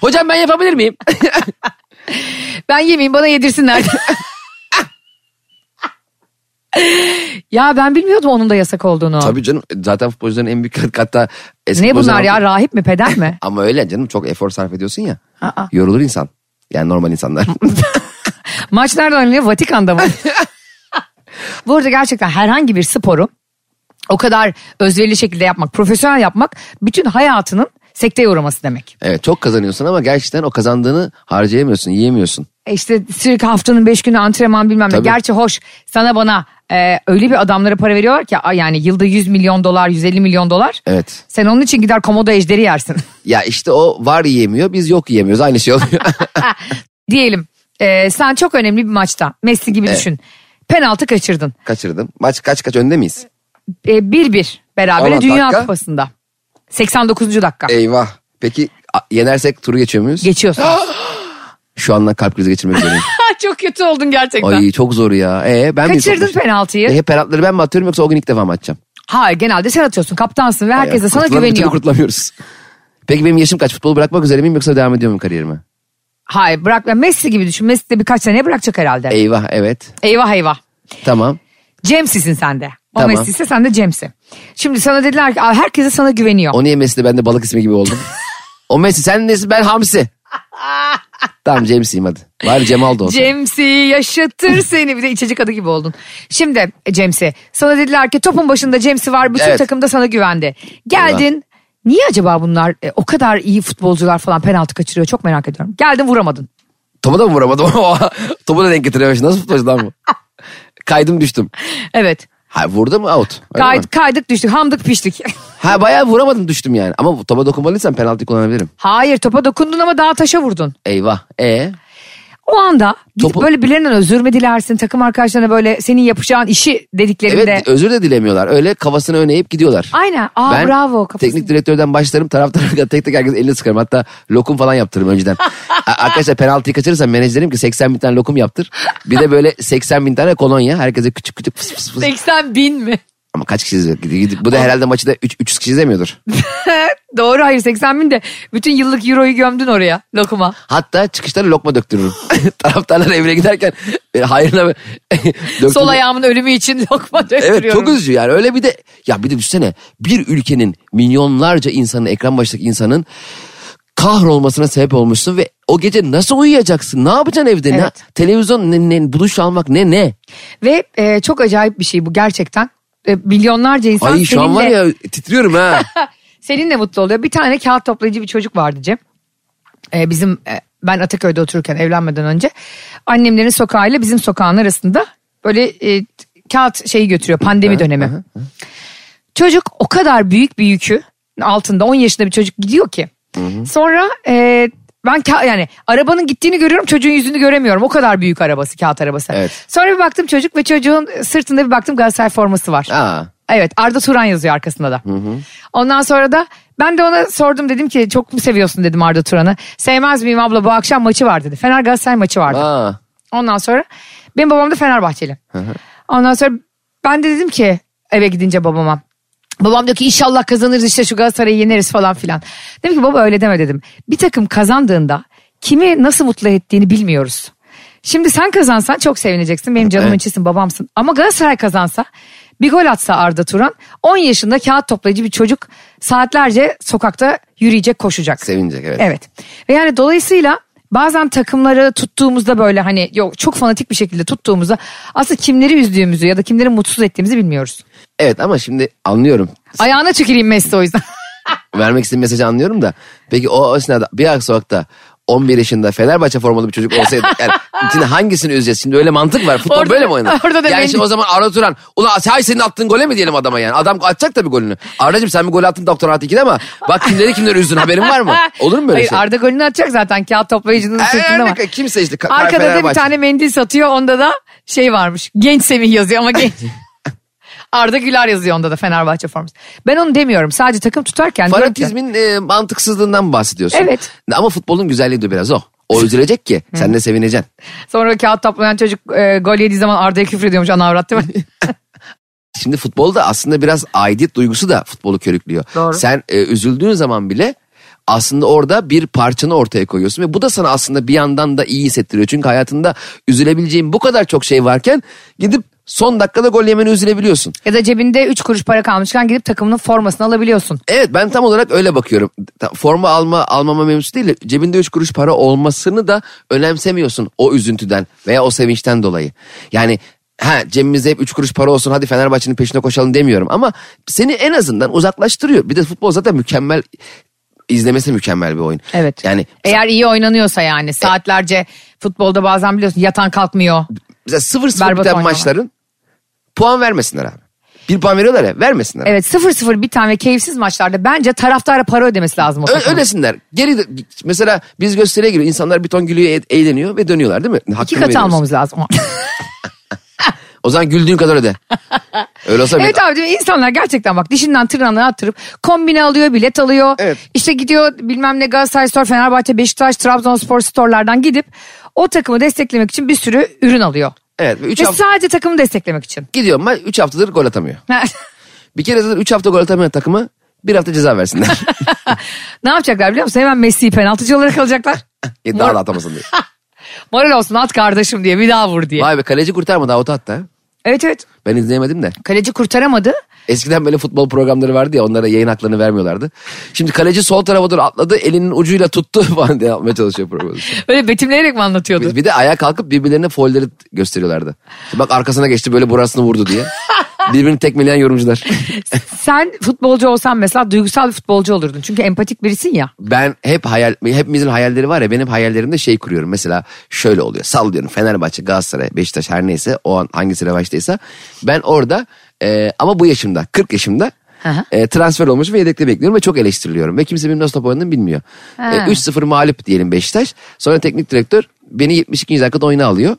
Hocam ben yapabilir miyim?
Ben yemeyeyim bana yedirsinler. ya ben bilmiyordum onun da yasak olduğunu.
Tabii canım. Zaten futbolcuların en büyük katkı hatta eski
ne bunlar
futbolcuların-
ya rahip mi peder mi?
Ama öyle canım çok efor sarf ediyorsun ya.
Aa.
Yorulur insan. Yani normal insanlar.
Maç nerede oynanıyor? Vatikan'da mı? Bu arada gerçekten herhangi bir sporu o kadar özverili şekilde yapmak, profesyonel yapmak bütün hayatının sekteye uğraması demek.
evet çok kazanıyorsun ama gerçekten o kazandığını harcayamıyorsun, yiyemiyorsun.
E İşte sürekli haftanın beş günü antrenman bilmem ne.
Tabii.
Gerçi hoş sana bana e, öyle bir adamlara para veriyorlar ki a- yani yılda 100 milyon dolar, 150 milyon dolar.
Evet.
Sen onun için gider komodo ejderi yersin.
Ya işte o var yiyemiyor, biz yok yiyemiyoruz. Aynı şey oluyor.
Diyelim e, sen çok önemli bir maçta Messi gibi düşün. Penaltı kaçırdın.
Kaçırdım. Maç kaç kaç önde miyiz?
E, 1-1 berabere
Olan
Dünya
dakika. E,
Kupası'nda. 89. dakika.
Eyvah. Peki a- yenersek turu geçiyor muyuz?
Geçiyorsun.
Şu andan kalp krizi geçirmek üzereyim.
çok kötü oldun gerçekten.
Ay çok zor ya. Ee, ben mi
Kaçırdın
yapmışım?
penaltıyı.
E, hep penaltıları ben mi atıyorum yoksa o gün ilk defa mı atacağım?
Hayır genelde sen atıyorsun. Kaptansın ve herkes
Ay,
de sana
kurtulamıyorum, bir türlü
güveniyor.
kurtulamıyoruz. Peki benim yaşım kaç? Futbolu bırakmak üzere miyim yoksa devam ediyor muyum kariyerime?
Hayır bırak Messi gibi düşün. Messi de birkaç sene bırakacak herhalde.
Eyvah evet.
eyvah eyvah.
Tamam.
James'isin sen de. O
Tamam.
Messi ise sen de James'i. Şimdi sana dediler ki "Aa, herkese sana güveniyor.
O niye Messi de ben de balık ismi gibi oldum. o Messi sen nesin ben Hamsi. tamam James'iyim hadi. Var Cemal da olsa.
Cemsi yaşatır seni. Bir de içecek adı gibi oldun. Şimdi e, Cemsi sana dediler ki topun başında Cemsi var. Bütün
Evet.
takım da sana güvendi. Geldin. Niye acaba bunlar e, o kadar iyi futbolcular falan penaltı kaçırıyor? Çok merak ediyorum. Geldin vuramadın.
Topu da mı vuramadım? Topu da denk getirememiş. Nasıl futbolcu lan bu? Kaydım düştüm.
Evet.
Ha vurdu mu out. Öyle mi?
Kay- kaydık düştük hamdık piştik.
Ha bayağı vuramadım düştüm yani. Ama bu topa dokunmalıysam penaltı kullanabilirim.
Hayır topa dokundun ama daha taşa vurdun.
Eyvah. E
O anda gidip
Topu-
böyle birilerinden özür mü dilersin? Takım arkadaşlarına böyle senin yapacağın işi
Evet
dediklerinde.
özür de dilemiyorlar. Öyle kafasını öne eğip gidiyorlar.
Aynen. Aa,
ben
bravo, kafasını.
teknik direktörden başlarım taraftara kadar tek tek herkes elini sıkarım. Hatta lokum falan yaptırırım önceden. A- Arkadaşlar penaltıyı kaçırırsam menajerim ki 80 bin tane lokum yaptır. Bir de böyle 80 bin tane kolonya. Herkese küçük küçük fıs fıs fıs.
80 bin mi?
Ama kaç kişi izliyor? Gidi- gidi- Bu da herhalde maçı da üç- 300 kişi izlemiyordur.
Doğru hayır 80 bin de bütün yıllık euroyu gömdün oraya lokuma.
Hatta çıkışta lokma döktürürüm. Taraftarlar evine giderken e, hayrına döktürürüm.
Sol ayağımın ölümü için lokma döktürüyorum.
Evet çok üzücü yani öyle bir de ya bir de düşünsene bir ülkenin milyonlarca insanın ekran başındaki insanın kahrolmasına sebep olmuşsun ve o gece nasıl uyuyacaksın? Ne yapacaksın evde? Ne,
Evet.
televizyon ne, ne buluş almak ne ne?
Ve e, çok acayip bir şey bu gerçekten. E, milyonlarca insan
Ay şu an var
seninle,
ya titriyorum ha.
seninle mutlu oluyor. Bir tane kağıt toplayıcı bir çocuk vardı Cem. E, bizim e, ben Ataköy'de otururken evlenmeden önce annemlerin sokağıyla bizim sokağın arasında böyle e, kağıt şeyi götürüyor pandemi dönemi. Çocuk o kadar büyük bir yükü altında 10 yaşında bir çocuk gidiyor ki. Sonra e, ben ka- yani arabanın gittiğini görüyorum çocuğun yüzünü göremiyorum. O kadar büyük arabası kağıt arabası.
Evet.
Sonra bir baktım çocuk ve çocuğun sırtında bir baktım Galatasaray forması var.
Aa.
Evet Arda Turan yazıyor arkasında da. Ondan sonra da ben de ona sordum dedim ki çok mu seviyorsun dedim Arda Turan'ı. Sevmez miyim abla bu akşam maçı var dedi. Fener Galatasaray maçı vardı.
Aa.
Ondan sonra benim babam da Fenerbahçeli. Ondan sonra ben de dedim ki eve gidince babama. Babam diyor ki inşallah kazanırız işte şu Galatasaray'ı yeneriz falan filan. Dedim ki baba öyle deme dedim. Bir takım kazandığında kimi nasıl mutlu ettiğini bilmiyoruz. Şimdi sen kazansan çok sevineceksin. Benim canımın
Evet.
içisin babamsın. Ama Galatasaray kazansa bir gol atsa Arda Turan 10 yaşında kağıt toplayıcı bir çocuk saatlerce sokakta yürüyecek koşacak.
Sevinecek, evet.
Evet. Ve yani dolayısıyla bazen takımları tuttuğumuzda böyle hani yok çok fanatik bir şekilde tuttuğumuzda aslında kimleri üzdüğümüzü ya da kimleri mutsuz ettiğimizi bilmiyoruz.
Evet ama şimdi anlıyorum.
Ayağına çekileyim Messi o yüzden.
Vermek istediğim mesajı anlıyorum da. Peki o, o esnada bir ak sokakta 11 yaşında Fenerbahçe formalı bir çocuk olsaydı. Yani şimdi hangisini üzeceğiz? Şimdi öyle mantık var. Futbol
Orada-
böyle mi oynanır?
orada da
yani
bence-
şimdi o zaman Arda Turan. Ulan say senin attığın gole mi diyelim adama yani? Adam atacak tabii golünü. Arda'cığım sen bir gol attın Doktor Artı 2'de ama bak kimleri kimleri üzdün haberin var mı? Olur mu böyle
Hayır
şey?
Arda golünü atacak zaten kağıt toplayıcının
Ee,
sırtında var.
örnek- kimse işte. Ka-
Arkada da bir
Fenerbahçe.
tane mendil satıyor onda da şey varmış. Genç Semih yazıyor ama genç. Arda Güler yazıyor onda da Fenerbahçe forması. Ben onu demiyorum sadece takım tutarken. diyorum ki-
Fanatizmin e, mantıksızlığından bahsediyorsun.
Evet.
Ama futbolun güzelliği de biraz o. O üzülecek ki sen de sevineceksin.
Sonra kağıt toplayan çocuk e, gol yediği zaman Arda'ya küfür ediyormuş ana avrat değil mi?
Şimdi futbolda aslında biraz aidiyet duygusu da futbolu körüklüyor.
Doğru.
Sen e, üzüldüğün zaman bile aslında orada bir parçanı ortaya koyuyorsun ve bu da sana aslında bir yandan da iyi hissettiriyor. Çünkü hayatında üzülebileceğin bu kadar çok şey varken gidip son dakikada gol yemeni üzülebiliyorsun.
ya da cebinde 3 kuruş para kalmışken gidip takımının formasını alabiliyorsun.
Evet ben tam olarak öyle bakıyorum. Ta- Forma alma almama mevzusu değil de cebinde 3 kuruş para olmasını da önemsemiyorsun o üzüntüden veya o sevinçten dolayı. Yani ha cebimizde hep 3 kuruş para olsun hadi Fenerbahçe'nin peşine koşalım demiyorum ama seni en azından uzaklaştırıyor. Bir de futbol zaten mükemmel izlemesi mükemmel bir oyun.
Evet.
Yani
Eğer iyi oynanıyorsa yani saatlerce futbolda bazen biliyorsun yatan kalkmıyor.
mesela 0-0
Berbat
biten
oynuyorlar.
maçların puan vermesinler abi. Bir puan veriyorlar ya vermesinler.
Evet 0-0 bir tane keyifsiz maçlarda bence taraftara para ödemesi lazım o
Ö-
takımın.
Öylesinler. Geri de- mesela biz gösteriye giriyor. İnsanlar bir ton gülüyor, e- eğleniyor ve dönüyorlar değil mi?
İki
Hakkını
katı
veriyoruz.
almamız lazım.
O zaman güldüğün kadar öde. Öyle olsa
evet
bir-
abi değil mi? insanlar gerçekten bak dişinden tırnağına attırıp kombine alıyor bilet alıyor.
Evet.
İşte gidiyor bilmem ne Galatasaray Store, Fenerbahçe, Beşiktaş, Trabzonspor storelardan gidip o takımı desteklemek için bir sürü ürün alıyor.
Evet. 3
Ve
hafta
sadece takımı desteklemek için.
gidiyorum ben 3 haftadır gol atamıyor. Bir kere zaten 3 hafta gol atamayan takımı bir hafta ceza versinler.
ne yapacaklar biliyor musun? Hemen Messi'yi penaltıcı olarak alacaklar.
Ya daha da atamasın diye.
Moral olsun at kardeşim diye bir daha vur diye.
Vay be kaleci kurtarmadı avuta attı. ha.
Evet evet.
Ben izleyemedim de.
Kaleci kurtaramadı.
Eskiden böyle futbol programları vardı ya onlara yayın haklarını vermiyorlardı. Şimdi kaleci sol tarafa doğru atladı elinin ucuyla tuttu falan diye yapmaya çalışıyor programı.
Öyle betimleyerek mi anlatıyordu?
Bir, bir de ayağa kalkıp birbirlerine foilleri gösteriyorlardı. İşte bak arkasına geçti böyle burasını vurdu diye. Birbirini tekmeleyen yorumcular.
Sen futbolcu olsan mesela duygusal bir futbolcu olurdun. Çünkü empatik birisin ya.
ben hep hayal hepimizin hayalleri var ya benim hayallerimde şey kuruyorum. Mesela şöyle oluyor. Sallıyorum Fenerbahçe, Galatasaray, Beşiktaş her neyse o an hangisi revaçtaysa ben orada e, ama bu yaşımda 40 yaşımda
Aha.
e, transfer olmuş ve yedekte bekliyorum ve çok eleştiriliyorum. Ve kimse benim nasıl top oynadığımı bilmiyor. E,
Ha.
3-0 mağlup diyelim Beşiktaş. Sonra teknik direktör beni 72. dakikada oyuna alıyor.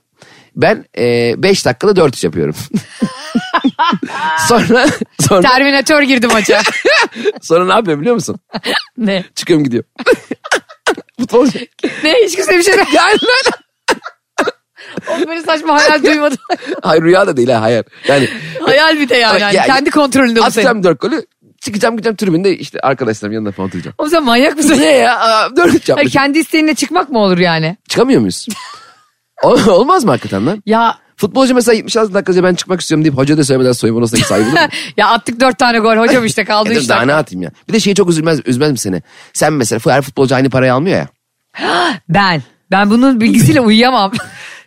Ben 5 dakikada 4 yapıyorum. sonra sonra
Terminatör girdi maça.
sonra ne yapıyorum biliyor musun?
ne?
Çıkıyorum gidiyorum. Futbol
Ne? Hiç kimse bir şey demiyor.
Yani lan.
O böyle saçma hayal duymadım.
Hayır rüya da değil ha hayal. Yani
hayal bir de yani. yani.
Ya-
Kendi kontrolünde bu senin.
atacağım dört golü çıkacağım gideceğim tribünde işte arkadaşlarım yanında falan oturacağım.
Oğlum sen manyak mısın?
Ne ya? Aa, Dört
Hayır,
üç yapmış.
kendi isteğinle çıkmak mı olur yani?
Çıkamıyor muyuz? Ol- Olmaz mı hakikaten lan?
Ya
Futbolcu mesela 76 dakikaca ben çıkmak istiyorum deyip hoca da söylemeden soyunma odasına gitse ayıp olur mu?
ya attık dört tane gol hocam işte kaldı
E, dur,
işte.
Daha ne atayım ya? Bir de şeyi çok üzülmez, üzmez mi seni? Sen mesela her futbolcu aynı parayı almıyor ya.
Ben. Ben bunun bilgisiyle uyuyamam.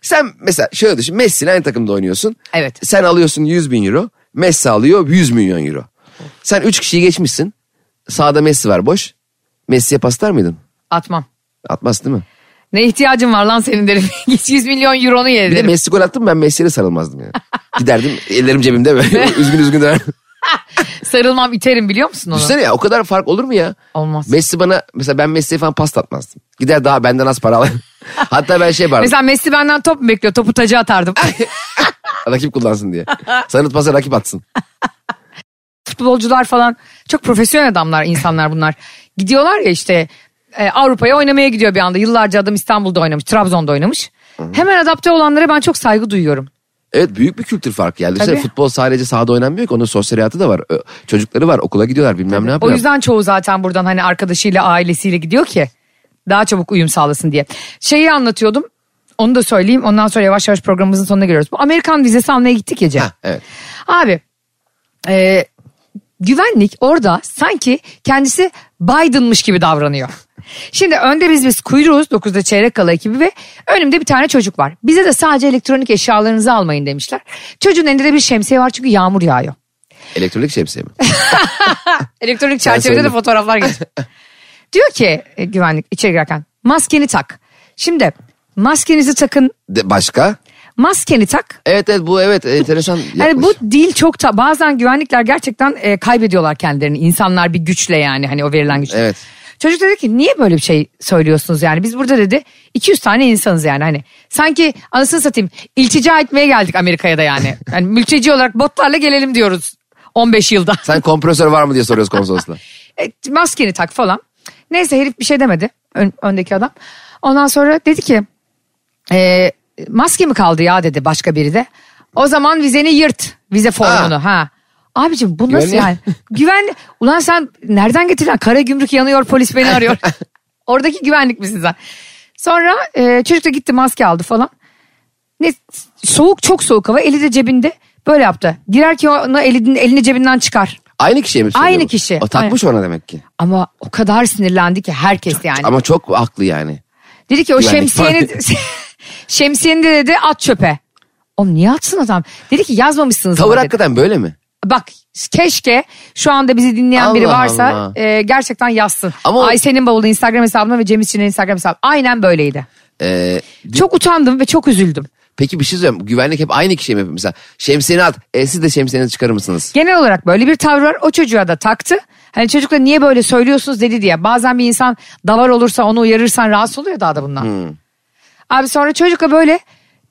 Sen mesela şöyle düşün. Messi'yle aynı takımda oynuyorsun.
Evet.
Sen alıyorsun 100 bin euro. Messi alıyor 100 milyon euro. Sen 3 kişiyi geçmişsin. Sağda Messi var boş. Messi'ye paslar mıydın?
Atmam.
Atmaz değil mi?
Ne ihtiyacın var lan senin derim. 100 milyon euronu ye
Bir de
derim.
Messi gol attım ben Messi'ye sarılmazdım yani. Giderdim ellerim cebimde böyle üzgün üzgün dönerdim.
Sarılmam iterim biliyor musun onu?
Düşünsene ya o kadar fark olur mu ya?
Olmaz.
Messi bana mesela ben Messi'ye falan pas atmazdım. Gider daha benden az para alır. Hatta ben şey yapardım.
Mesela Messi benden top mu bekliyor? Topu taca atardım.
Rakip kullansın diye. Sanat pasa rakip atsın.
futbolcular falan çok profesyonel adamlar insanlar bunlar. Gidiyorlar ya işte e, Avrupa'ya oynamaya gidiyor bir anda. Yıllarca adam İstanbul'da oynamış, Trabzon'da oynamış. Hemen adapte olanlara ben çok saygı duyuyorum.
Evet büyük bir kültür farkı yani. Düşünsene
Tabii.
futbol sadece sahada oynanmıyor ki onun sosyal hayatı da var. Ö- Çocukları var okula gidiyorlar bilmem ne
O
yapıyorlar.
yüzden çoğu zaten buradan hani arkadaşıyla, ailesiyle gidiyor ki daha çabuk uyum sağlasın diye. Şeyi anlatıyordum. Onu da söyleyeyim. Ondan sonra yavaş yavaş programımızın sonuna giriyoruz. Bu Amerikan vizesi almaya gittik ya Cem.
Ha, evet.
Abi e, güvenlik orada sanki kendisi Biden'mış gibi davranıyor. Şimdi önde biz biz kuyruğuz 9'da çeyrek kala ekibi ve önümde bir tane çocuk var. Bize de sadece elektronik eşyalarınızı almayın demişler. Çocuğun elinde de bir şemsiye var çünkü yağmur yağıyor.
Elektronik şemsiye mi?
Elektronik çerçevede de
söyledim.
fotoğraflar geçiyor. Diyor ki e, güvenlik içeri girerken maskeni tak. Şimdi maskenizi takın
De, başka?
maskeni tak.
Evet evet bu evet enteresan.
Yani Hani bu
yaklaşım.
dil çok ta bazen güvenlikler gerçekten e, kaybediyorlar kendilerini insanlar bir güçle yani hani o verilen güçle.
Evet.
Çocuk dedi ki niye böyle bir şey söylüyorsunuz yani biz burada dedi 200 tane insanız yani hani sanki anasını satayım iltica etmeye geldik Amerika'ya da yani. Yani mülteci olarak botlarla gelelim diyoruz 15 yılda.
Sen kompresör var mı diye soruyoruz konsolosla.
E, maskeni tak falan. Neyse herif bir şey demedi ön- öndeki adam. Ondan sonra dedi ki e, maske mi kaldı ya dedi başka biri de. O zaman vizeni yırt vize formunu ha. Abicim bu nasıl
Güvenli-
yani? Güven ulan sen nereden getirilen kara gümrük yanıyor polis beni arıyor. Oradaki güvenlik misin sen? Sonra e, çocuk da gitti maske aldı falan. Ne soğuk çok soğuk hava eli de cebinde böyle yaptı. Girer ki onu elini, elini cebinden çıkar.
Aynı kişiye mi söylüyor
Aynı
bu?
kişi.
O takmış ona demek ki.
Ama o kadar sinirlendi ki herkes yani.
Ama çok haklı yani.
Dedi ki o
Güvenlik
şemsiyeni şemsiyeni de dedi at çöpe. Oğlum niye atsın adam? Dedi ki yazmamışsınız. ama
Tavır
dedi.
hakikaten böyle mi?
Bak keşke şu anda bizi dinleyen biri
Allah
varsa
Allah.
e, gerçekten yazsın.
Ama o-
Ayşe'nin bavulu Instagram hesabıma ve Cem İşçi'nin Instagram hesabı. Aynen böyleydi.
Ee,
Çok utandım ve çok üzüldüm.
peki bir şey söyleyeyim. Güvenlik hep aynı kişiye mi? yapıyor? Mesela şemsiyeni at. E, siz de şemsiyenizi çıkarır mısınız?
Genel olarak böyle bir tavır var. O çocuğa da taktı. Hani çocuk da niye böyle söylüyorsunuz dedi diye. Bazen bir insan davar olursa onu uyarırsan rahatsız oluyor daha da bundan. Abi sonra çocukla böyle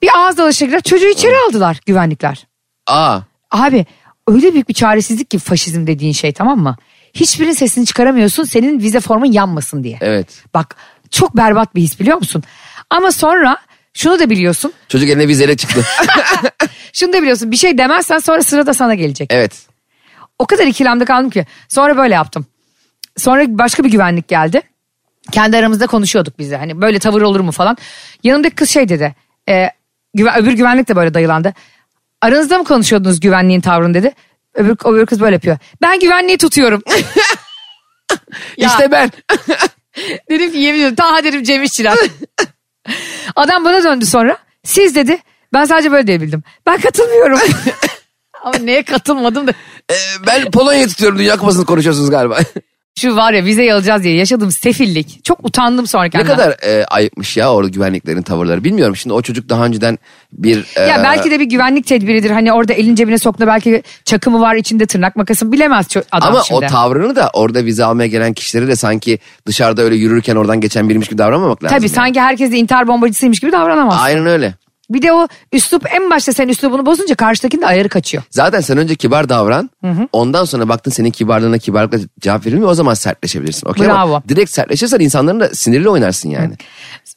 bir ağız dalaşa girer. Çocuğu içeri aldılar güvenlikler.
Aa.
Abi öyle büyük bir çaresizlik ki faşizm dediğin şey tamam mı? Hiçbirinin sesini çıkaramıyorsun senin vize formun yanmasın diye.
Evet.
Bak çok berbat bir his biliyor musun? Ama sonra şunu da biliyorsun.
Çocuk eline vizeyle çıktı.
Şunu da biliyorsun bir şey demezsen sonra sıra da sana gelecek.
evet.
O kadar ikilemde kaldım ki. Sonra böyle yaptım. Sonra başka bir güvenlik geldi. Kendi aramızda konuşuyorduk biz de. Hani böyle tavır olur mu falan. Yanımdaki kız şey dedi. E, güven, öbür güvenlik de böyle dayılandı. Aranızda mı konuşuyordunuz güvenliğin tavrını dedi. Öbür, öbür kız böyle yapıyor. Ben güvenliği tutuyorum. Ya.
İşte ben.
dedim ki yemin ediyorum. Taha dedim Cem İşçiler. Adam bana döndü sonra. Siz dedi. Ben sadece böyle diyebildim. Ben katılmıyorum. Ama neye katılmadım da.
Ee, ben Polonya'yı tutuyorum. Dünya kupasını konuşuyorsunuz galiba.
Şu var ya vizeyi alacağız diye yaşadığım sefillik. Çok utandım sonra
ne
kendimden.
kadar e, ayıpmış ya orada güvenliklerin tavırları. Bilmiyorum şimdi o çocuk daha önceden bir...
Ya
e,
belki de bir güvenlik tedbiridir. Hani orada elin cebine soktu belki çakı mı var içinde tırnak makası mı bilemez ço- adam
Ama
şimdi.
o tavrını da orada vize almaya gelen kişileri de sanki dışarıda öyle yürürken oradan geçen birmiş gibi davranmamak lazım.
Tabii
yani.
sanki herkes de intihar bombacısıymış gibi davranamaz.
Aynen öyle.
Bir de o üslup en başta sen üslubunu bozunca karşıdakinin de ayarı kaçıyor.
Zaten sen önce kibar davran. Ondan sonra baktın senin kibarlığına kibarlıkla cevap verilmiyor. O zaman sertleşebilirsin. okey ama
Bravo.
Direkt sertleşirsen insanların da sinirli oynarsın yani.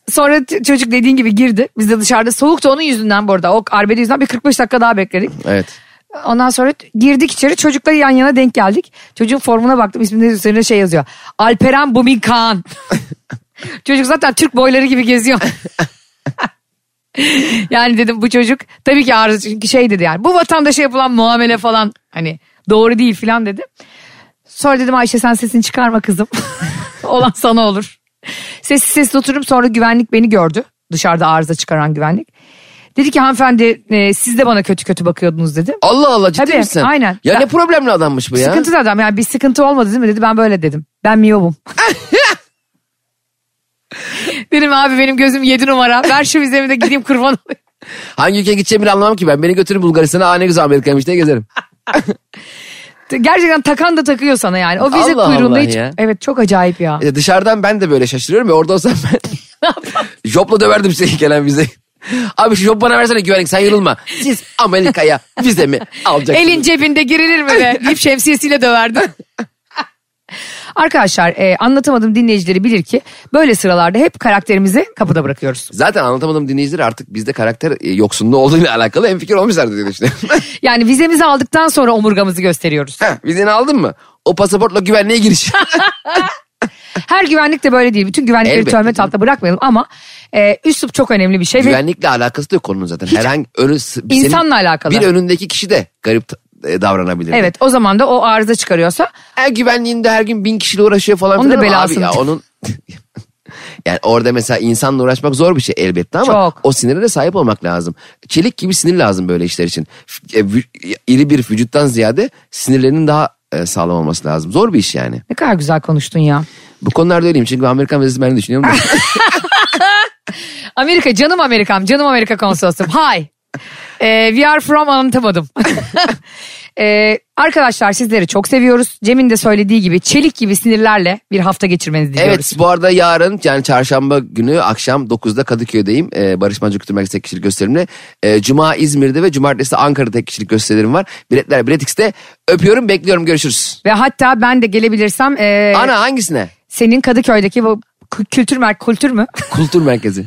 Sonra t- çocuk dediğin gibi girdi. Biz de dışarıda soğuktu onun yüzünden bu arada. O arbede yüzünden bir 45 dakika daha bekledik.
Evet.
Ondan sonra t- girdik içeri çocukla yan yana denk geldik. Çocuğun formuna baktım isminin üzerine şey yazıyor. Alperen Bumin Kaan. çocuk zaten Türk boyları gibi geziyor. yani dedim bu çocuk tabii ki arzu çünkü şey dedi yani bu vatandaşa yapılan muamele falan hani doğru değil falan dedi. Sonra dedim Ayşe sen sesini çıkarma kızım. Olan sana olur. Sessiz sessiz oturup sonra güvenlik beni gördü. Dışarıda arıza çıkaran güvenlik. Dedi ki hanımefendi e, siz de bana kötü kötü bakıyordunuz dedi.
Allah Allah ciddi
Tabii,
misin?
aynen.
Ya
Ben-
ne problemli adammış bu ya.
Sıkıntı da adam yani bir sıkıntı olmadı değil mi dedi ben böyle dedim. Ben miyobum. dedim abi benim gözüm yedi numara ver şu vizemi de gideyim kurban olayım.
Hangi ülkeye gideceğimi bile anlamam ki ben. Beni götürün Bulgaristan'a. Aa ne güzel Amerika'ymış diye gezerim.
Gerçekten takan da takıyor sana yani. O vize
Allah
kuyruğunda
Allah
hiç.
ya.
Evet çok acayip ya.
Bir de dışarıdan ben de böyle şaşırıyorum ya orada olsam ben jopla döverdim seni gelen vize. Abi şu jop bana versene güvenlik sen yorulma. Siz Amerika'ya vizemi alacaksınız.
Elin cebinde girilir mi be deyip şemsiyesiyle döverdim. Arkadaşlar e, anlatamadım dinleyicileri bilir ki böyle sıralarda hep karakterimizi kapıda bırakıyoruz.
Zaten anlatamadım dinleyiciler artık bizde karakter e, yoksunluğu olduğuyla alakalı en fikir olmuşlardı diye düşünüyorum.
Yani vizemizi aldıktan sonra omurgamızı gösteriyoruz.
Heh, Vizeni aldın mı? O pasaportla güvenliğe giriş.
Her güvenlik de böyle değil. Bütün güvenlikleri
Elbette
töhmet
canım.
altında bırakmayalım ama e, üslup çok önemli bir şey. ve
Güvenlikle alakası da yok konunun zaten. Herhangi önü, s- senin-
İnsanla alakalı.
Bir önündeki kişi de garip e, davranabilir.
Evet o zaman da o arıza çıkarıyorsa
Her güvenliğinde her gün bin kişiyle uğraşıyor falan.
Onun da
filan ama
belasını.
Abi ya onun Yani orada mesela insanla uğraşmak zor bir şey elbette ama
Çok.
o sinire de sahip olmak lazım. Çelik gibi sinir lazım böyle işler için. F- e, vü- İri bir vücuttan ziyade sinirlerinin daha e, sağlam olması lazım. Zor bir iş yani.
Ne kadar güzel konuştun ya.
Bu konularda öyleyim çünkü Amerikan vizesi ben de düşünüyorum. da.
Amerika canım Amerikam canım Amerika konsolosum hi Ee, we are from anlatamadım Ee, arkadaşlar sizleri çok seviyoruz Cem'in de söylediği gibi çelik gibi sinirlerle bir hafta geçirmenizi diliyoruz
Evet bu arada yarın yani çarşamba günü akşam 9'da Kadıköy'deyim. Ee, Barış Manço Kültür Merkezi tek kişilik gösterimle. Ee, Cuma İzmir'de ve Cumartesi de Ankara'da tek kişilik gösterim var. Biletler Biletix'te. Öpüyorum bekliyorum görüşürüz.
ve hatta ben de gelebilirsem ee,
Ana hangisine?
senin Kadıköy'deki bu kü- kültür mer kültür mü?
Kültür Merkezi.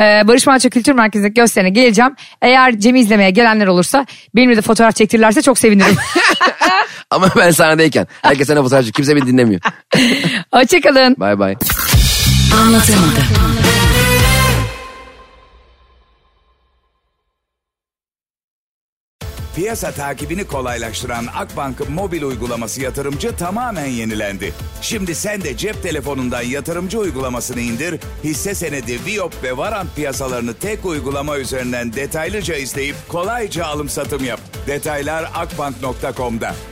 Ee, Barış Manço Kültür Merkezi'ndeki gösterine geleceğim. Eğer Cem'i izlemeye gelenler olursa benimle de fotoğraf çektirirlerse çok sevinirim.
Ama ben sahnedeyken. Herkes sana fotoğraf çekiyor. Kimse beni dinlemiyor.
Hoşçakalın.
Bay bay.
Piyasa takibini kolaylaştıran Akbank'ın mobil uygulaması yatırımcı tamamen yenilendi. Şimdi sen de cep telefonundan yatırımcı uygulamasını indir, hisse senedi, Viyop ve Varant piyasalarını tek uygulama üzerinden detaylıca izleyip kolayca alım satım yap. Detaylar akbank.com'da.